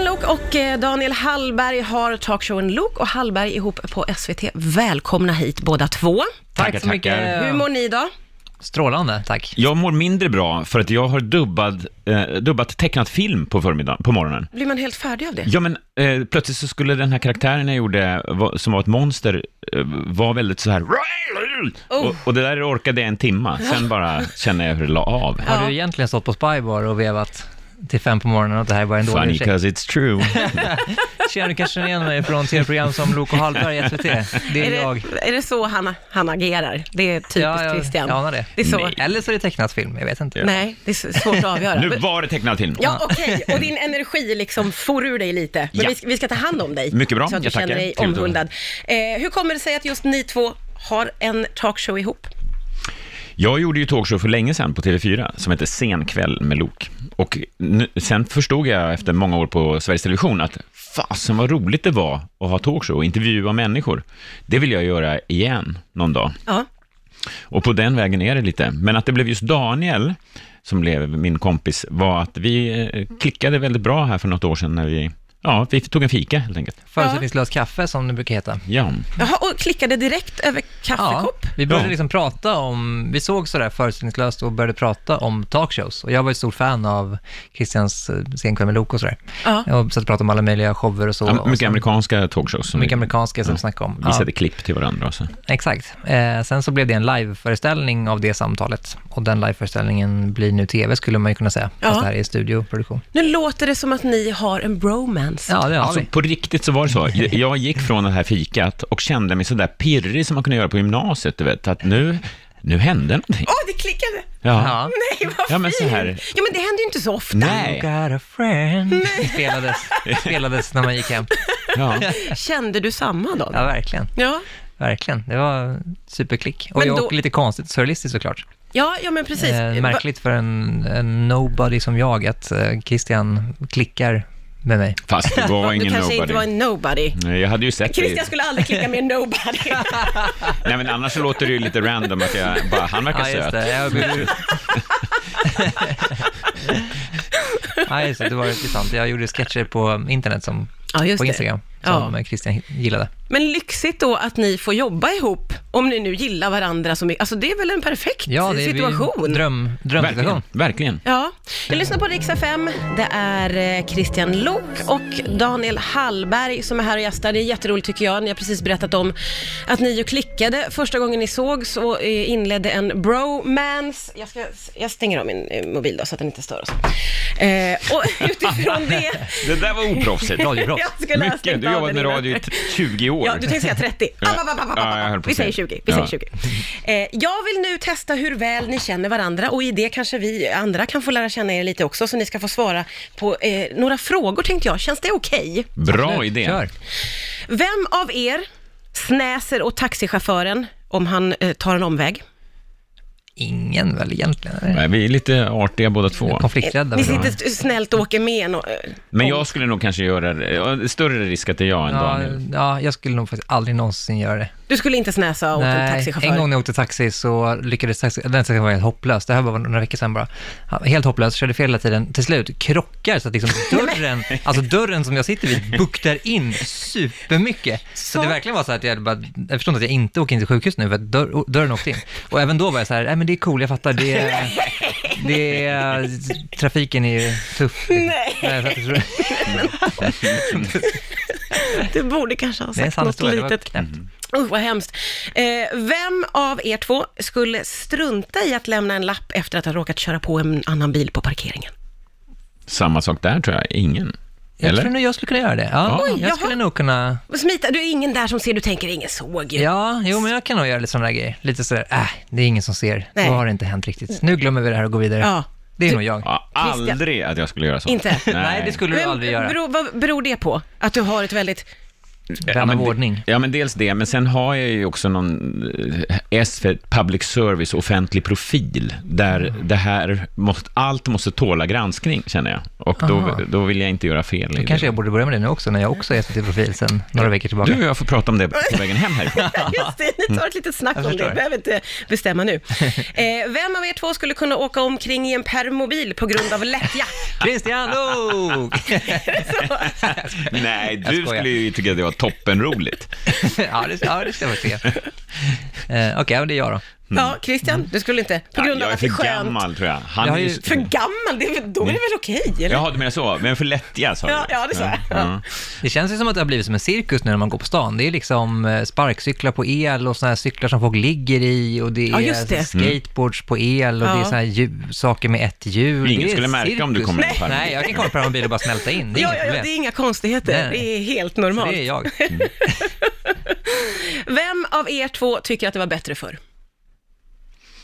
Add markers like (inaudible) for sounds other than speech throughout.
Lok och eh, Daniel Hallberg har talkshowen Lok och Hallberg ihop på SVT. Välkomna hit båda två. Tack Tackar, så mycket. tackar. Hur mår ni då? Strålande, tack. Jag mår mindre bra för att jag har dubbad, eh, dubbat tecknat film på förmiddagen, på morgonen. Blir man helt färdig av det? Ja, men eh, plötsligt så skulle den här karaktären jag gjorde, va- som var ett monster, eh, vara väldigt så här... Och, och det där orkade jag en timma, sen bara kände jag hur det la av. Har du egentligen stått på Spybar och vevat till fem på morgonen och det här var en dålig Funny ursäkt? cause it's true. Tjena, du kanske känner igen mig från tv-program som Lok och Hallberg i (laughs) SVT? Det är, jag. det, är det så han, han agerar? Det är typiskt Ja, jag, Christian. jag anar det. Det är så. Nej. Nej. Eller så är det tecknat film, jag vet inte. det är så- svårt att avgöra. (laughs) Nu Men- var det tecknad film. Ja, okej. Och din energi liksom for ur dig lite. Men Ja. vi, ska, vi ska ta hand om dig. Mycket bra. Så att du Jag tackar. känner dig Trevligt att omhuldad. Eh, hur kommer det sig att just ni två har en talkshow ihop? Jag gjorde ju talkshow för länge sedan på TV4 som hette Sen kväll med Lok. Och nu, sen förstod jag efter många år på Sveriges Television att fasen vad roligt det var att ha talkshow och intervjua människor. Det vill jag göra igen någon dag. Ja. Och på den vägen är det lite. Men att det blev just Daniel, som blev min kompis, var att vi eh, klickade väldigt bra här för något år sedan när vi, ja, vi tog en fika helt enkelt. Förutsättningslös kaffe, som det brukar heta. Ja. Jaha, och klickade direkt över Ja, kaffekopp? vi började Ja. liksom prata om, vi såg sådär förutsättningslöst och började prata om talkshows. Och jag var ett stort fan av Christians eh, scenkväll med Lok och sådär. Ja. Jag satt och pratade om alla möjliga shower och så. Am- Och Mycket sen- amerikanska talkshows som mycket vi amerikanska som vi snackade om. Ja. visade klipp till varandra. Och så. Exakt. Eh, sen så blev det en liveföreställning av det samtalet. Och den liveföreställningen blir nu tv, skulle man ju kunna säga. Ja. Fast det här är studioproduktion. Nu låter det som att ni har en bromance. Ja, det har Alltså vi. på riktigt så var det så. (laughs) Jag- Jag gick från det här fikat och kände mig sådär pirrig som man kunde göra på gymnasiet, du vet, att nu, nu hände någonting. Åh, det klickade! Ja. Ja. Nej, vad Ja, men fint! så här- Ja, men det händer ju inte så ofta. You Nej. got a friend. Spelades, spelades när man gick hem. Ja. Kände du samma då? Ja, verkligen. Ja. Verkligen. Det var superklick. Och, Men jag, då- och lite konstigt, surrealistiskt såklart. Ja, ja men precis. Eh, märkligt för en, en nobody som jag att eh, Christian klickar med mig. Fast det var Va- du ingen kanske inte var nobody. en nobody. Nej, Jag hade ju sett Christian dig. skulle aldrig klicka med en nobody. Nej, men annars så låter det ju lite random att jag bara, (laughs) han verkar Ja, just söt. det. Jag blev... (laughs) ja, just det. Det var intressant. Jag gjorde sketcher på internet, som, (laughs) Ja, just på det. Instagram, som Christian gillade. Men lyxigt då att ni får jobba ihop, om ni nu gillar varandra så mycket. Alltså det är väl en perfekt Ja, det är situation? dröm, drömsituation. Verkligen, verkligen. Ja, jag lyssnar på Rix FM. Det är eh, Christian Lok och Daniel Hallberg som är här och gästar. Det är jätteroligt tycker jag. Ni har precis berättat om att ni ju klickade första gången ni såg så eh, inledde en bromance. Jag, ska, jag stänger av min eh, mobil då så att den inte stör oss. Eh, och (laughs) utifrån det... Det där var oproffsigt. (laughs) Radioproffs. Jag skulle ha Mycket. stängt Du av har jobbat den med innan. radio i t- 20 år. Ja, du tänkte säga 30. Ah, Ja. ah, ah, ah, ah, Ja, jag höll på vi att säger säga. 20. Vi säger Ja. 20. Eh, jag vill nu testa hur väl ni känner varandra och i det kanske vi andra kan få lära känna er lite också, så ni ska få svara på eh, några frågor tänkte jag. Känns det okej? Bra idé. Kör. Vem av er snäser åt taxichauffören om han eh, tar en omväg? Ingen väl egentligen? Eller? Nej, vi är lite artiga båda två. Konflikträdda. Ni väl? sitter st- snällt och åker med. No- eh, Men jag skulle nog kanske göra det. ja, det är Större risk att det är jag än Ja, Daniel. ja, jag skulle nog faktiskt aldrig någonsin göra det. du skulle inte snäsa åt en Nej, taxichaufför? en gång när jag åkte taxi så lyckades taxi, den taxin var helt hopplös. Det här var några veckor sedan bara. Ja, Helt hopplös, körde fel hela tiden. Till slut krockar så att liksom dörren, alltså dörren som jag sitter vid buktar in supermycket. Så, Så- det verkligen var så att jag hade bara, jag förstår inte att jag inte åker in till sjukhus nu för att dörr, dörren åkte in. Och även då var jag så här, nej men det är cool, jag fattar, det är, det är trafiken är ju tuff. Nej. så att jag tror- Du borde kanske ha Det är en sagt sann något historia, det var litet. knäppt. Mm. Usch, vad hemskt. Eh, vem av er två skulle strunta i att lämna en lapp efter att ha råkat köra på en annan bil på parkeringen? Samma sak där tror jag. Ingen. Jag Eller? tror nog jag skulle kunna göra det. Ja, Oj, jag skulle jaha. nog kunna Smita, du är ingen där som ser, du tänker ingen såg ju. Ja, jo men jag kan nog göra lite sådana där grejer. Lite sådär, äh, det är ingen som ser. Nej. Då har det inte hänt riktigt. Nu glömmer vi det här och går vidare. Ja. Det är nog jag. Ja, Christian. aldrig att jag skulle göra så. Inte? Nej, det skulle du aldrig göra. beror, vad beror det på? Att du har ett väldigt Vän men av det- ordning. Ja, men dels det, men sen har jag ju också någon eh, S för public service, offentlig profil, där Mm. det här måste, allt måste tåla granskning, känner jag. Och då, Aha. då vill jag inte göra fel. i Då det. kanske jag borde börja med det nu också, när jag också är SVT-profil sen några veckor tillbaka. Du och jag får prata om det på vägen hem härifrån. (laughs) (laughs) Just det, ni tar ett litet snack Jag om förstår. det. behöver inte bestämma (laughs) nu. Eh, vem av er två skulle kunna åka omkring i en permobil på grund av lättja? Christian Luuk! (laughs) Nej, Jag du skojar. skulle ju tycka att det var toppenroligt. (laughs) ja, det, ja, det ska jag få se. Eh, Okej, ja, men det är jag då. Ja, Christian, Mm. du skulle inte? På grund jag av är att det är för skönt. gammal, tror jag. Jag Han har är ju- ju... För gammal? Det är, väl- då är det Mm. väl okej? eller? Jaha, du menar så. Men för lättja, sa du? Mm. Ja, ja, det sa jag. Ja. Det känns ju som att det har blivit som en cirkus nu när man går på stan. Det är liksom eh, sparkcyklar på el och såna här cyklar som folk ligger i och det är Ja, just det. skateboards på el och Ja. det är såna här ljus, saker med ett hjul. Ingen Det är skulle märka cirkus. om du kommer in på Nej, en nej, jag kan komma på en bil och bara smälta in. Det är Ja, inget ja, ja, problem. det är inga konstigheter. Nej. Det är helt Så normalt. det är jag. Vem av er två tycker att det var bättre förr?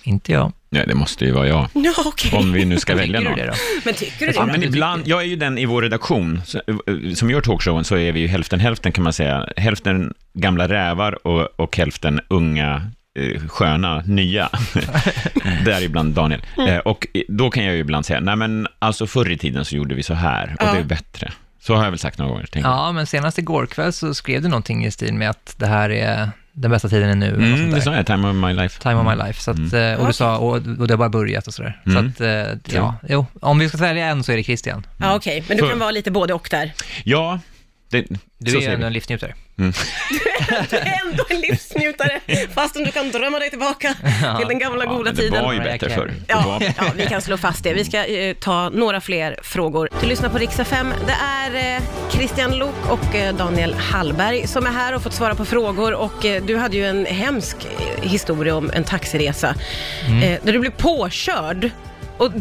Inte jag. Ja, det måste ju vara jag. (laughs) Ja, okej. Om vi nu ska välja Tycker du någon. det då? Men tycker du Ja, det? men ibland, jag är ju den i vår redaktion, så, eh, som gör talkshowen, så är vi ju hälften hälften kan man säga. Hälften gamla rävar och, och hälften unga, eh, sköna, nya. (laughs) Däribland Daniel. Mm. Eh, och eh, då kan jag ju ibland säga, nej men alltså förr i tiden så gjorde vi så här, och Ja. det är bättre. Så har jag väl sagt några gånger. tänker jag. Ja, men senast igår kväll så skrev du någonting i stil med att det här är den bästa tiden är nu. eller något Mm, sånt där. det sa jag, time of my life. Time of my life. Så att, eh, Och du sa, och, och det har bara börjat och sådär. Mm. Så att, eh, ja, jo. Om vi ska välja en så är det Christian. Ja, okej. Men du Så- kan vara lite både och (laughs) där. Ja, det, Du så är ju säger ändå vi. en livsnjutare. Du är ändå en livsnjutare, fastän du kan drömma dig tillbaka till den gamla (laughs) Ja, goda men det tiden. var ju Mariah bättre Carey. förr. Det Ja, (laughs) var- ja, vi kan slå fast det. Vi ska eh, ta några fler frågor. Du lyssnar på Riksa 5. Det är eh, Christian Lok och eh, Daniel Hallberg som är här och fått svara på frågor. Och eh, du hade ju en hemsk eh, historia om en taxiresa Mm. eh, där du blev påkörd. Och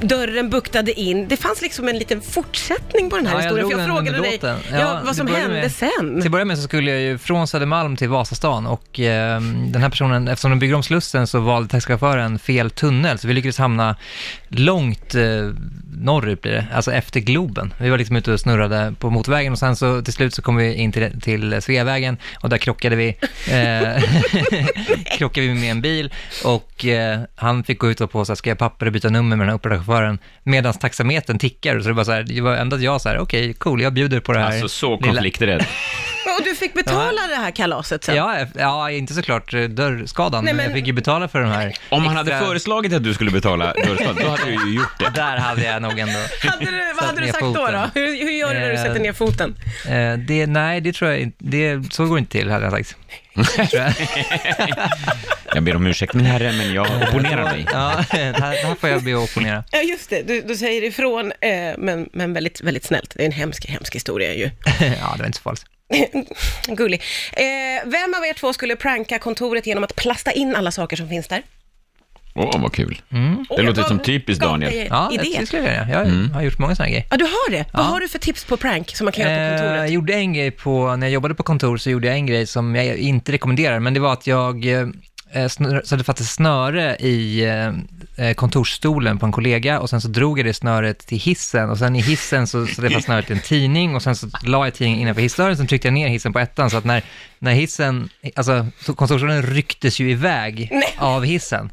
dörren buktade in. Det fanns liksom en liten fortsättning på den här Ja, historien. drog för jag den frågade under dig låten. ja, vad till som att börja hände med, sen. Till att börja med så skulle jag ju från Södermalm till Vasastan och eh, den här personen, eftersom de bygger om Slussen så valde taxichauffören fel tunnel så vi lyckades hamna långt eh, norrut blir det, alltså efter Globen. Vi var liksom ute och snurrade på motvägen och sen så till slut så kom vi in till, till Sveavägen och där krockade vi, eh, (laughs) krockade vi med en bil och eh, han fick gå ut och på så här, skriva papper och byta nummer med den här uppdragschauffören medan taxametern tickar så det var så här, det var ändå att jag så här, okej cool jag bjuder på det här. Alltså så lilla- konflikträdd. Och du fick betala det här kalaset sen. Ja, ja, inte såklart eh, dörrskadan, Nej, men jag men- fick ju betala för den här. Om han hade extra- föreslagit att du skulle betala dörrskott, då hade du ju gjort det. Där hade jag nog ändå... Hade du, vad Satt hade du ner sagt då? foten. då? Hur, hur gör du när du Eh, sätter ner foten? Eh, det, nej, det tror jag inte. Det, så går det inte till, hade jag sagt. Tror jag. Jag ber om ursäkt min herre, men jag opponerar mig. (laughs) Ja, det här, det här får jag be att opponera. Ja, just det. Du, du säger ifrån, eh, men, men väldigt, väldigt snällt. Det är en hemsk, hemsk historia ju. (laughs) Ja, det var inte så farligt. Gullig. Eh, vem av er två skulle pranka kontoret genom att plasta in alla saker som finns där? Åh, vad kul. Oj, Mm. Det låter vad- som typiskt gav Daniel. dig Ja, idé. det skulle jag göra. Jag har gjort många sådana grejer. Ja, du har det. Vad har du för tips på prank som man kan göra på Eh, kontoret? Jag gjorde en grej på, när jag jobbade på kontor så gjorde jag en grej som jag inte rekommenderar, men det var att jag eh, snör, så hade fast ett snöre i eh, eh, kontorsstolen på en kollega och sen så drog jag det snöret till hissen och sen i hissen så så hade jag fast snöret i en tidning och sen så la jag tidningen innanför hissdörren, sen tryckte jag ner hissen på ettan så att när, när hissen, alltså så kontorsstolen rycktes ju iväg av hissen.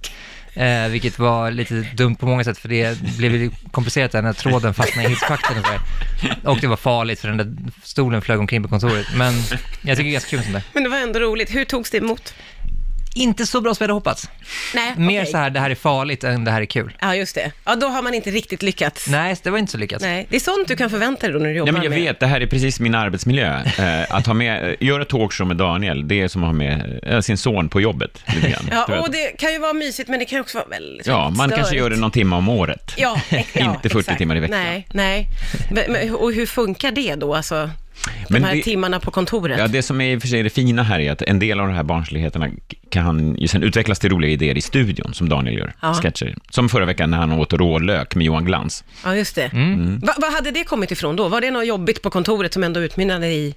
Eh, vilket var lite dumt på många sätt, för det blev ju komplicerat där när tråden fastnade i hisspakten och så där. Och det var farligt, för den där stolen flög omkring på kontoret. Men jag tycker det är ganska kul sånt där. Men det var ändå roligt. Hur togs det emot? Inte så bra som jag hade hoppats. Nej, Mer okej. så här, det här är farligt än det här är kul. Ja, just det. Ja, då har man inte riktigt lyckats. Nej. Nej, det var inte så lyckat. Det är sånt du kan förvänta dig då när du jobbar Nej, men jag med... vet, det här är precis min arbetsmiljö. Eh, att ha med, eh, göra talkshow med Daniel, det är som att ha med eh, sin son på jobbet. Lite grann, Du Ja, vet. och det kan ju vara mysigt, men det kan ju också vara väldigt ja, man störigt. kanske gör det någon timme om året. Ja, (laughs) ex- ja, Inte 40 exakt. timmar i veckan. Nej, nej. Men, men, och hur funkar det då, alltså? De Men här det- timmarna på kontoret? Ja, det som är i och för sig är det fina här är att en del av de här barnsligheterna kan ju sen utvecklas till roliga idéer i studion, som Daniel gör, Ja. sketcher. Som förra veckan när han åt rålök med Johan Glans. Mm. Mm. Ja, just det. Va- Vad hade det kommit ifrån då? Var det något jobbigt på kontoret som ändå utmynnade i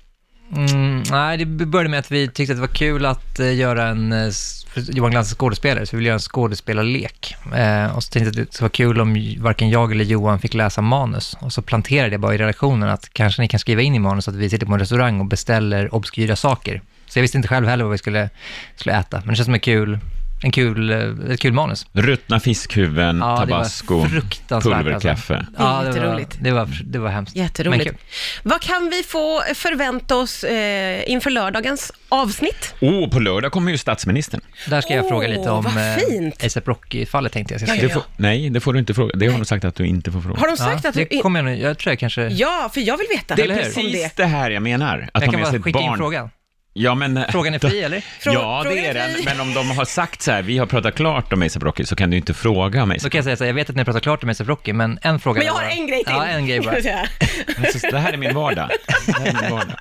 Mm, nej, det började med att vi tyckte att det var kul att eh, göra en, eh, s- för Johan Glans är skådespelare, så vi ville göra en skådespelarlek. Eh, och så tänkte jag att det skulle vara kul om ju- varken jag eller Johan fick läsa manus. Och så planterade jag bara i redaktionen att kanske ni kan skriva in i manus att vi sitter på en restaurang och beställer obskyra saker. Så jag visste inte själv heller vad vi skulle, skulle äta, men det känns som en kul, en kul, eh, ett kul manus. Ruttna fiskhuvuden, Ja, det var tabasco, alltså. fruktansvärt, alltså. pulverkaffe. Det är det var, jätteroligt. det, var, det var hemskt. Jätteroligt. Men kul. Vad kan vi få förvänta oss eh, inför lördagens avsnitt? Och på lördag kommer ju statsministern. Där ska jag Åh, fråga lite om vad eh, fint. ASAP Rocky-fallet tänkte jag. ska Ja, ja, säga. Det får, nej, det får du inte fråga. Det har de sagt att du inte får fråga. Har de sagt Ja, att... det kommer jag nog, jag tror jag kanske... Ja, för jag vill veta. Det Eller är hur? Om precis det. det här jag menar. jag Att de kan har bara sett skicka barn. in frågan. Ja, men, Frågan är fri, eller? Frå- ja, frågan det är till- den. Men om de har sagt så här, vi har pratat klart om ASAP Rocky, så kan du inte fråga om Då ASAP kan jag säga så här, jag vet att ni har pratat klart om ASAP Rocky, men en fråga Men jag har bara. en grej till. Ja, en (laughs) grej bara. Rocky. Så Det här är (laughs) min vardag. Det här är min vardag.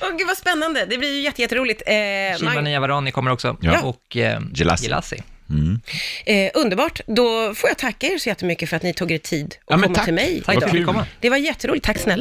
Åh gud vad spännande, det blir ju jätte, jätteroligt. Eh, Shiba Mag- Niavarani kommer också. Ja. Och eh, Gelassi. Gelassi. eh, underbart, då får jag tacka er så jättemycket för att ni tog er tid att Ja, men komma tack. till mig Tack för idag. att du fick komma. Det var jätteroligt, tack snälla.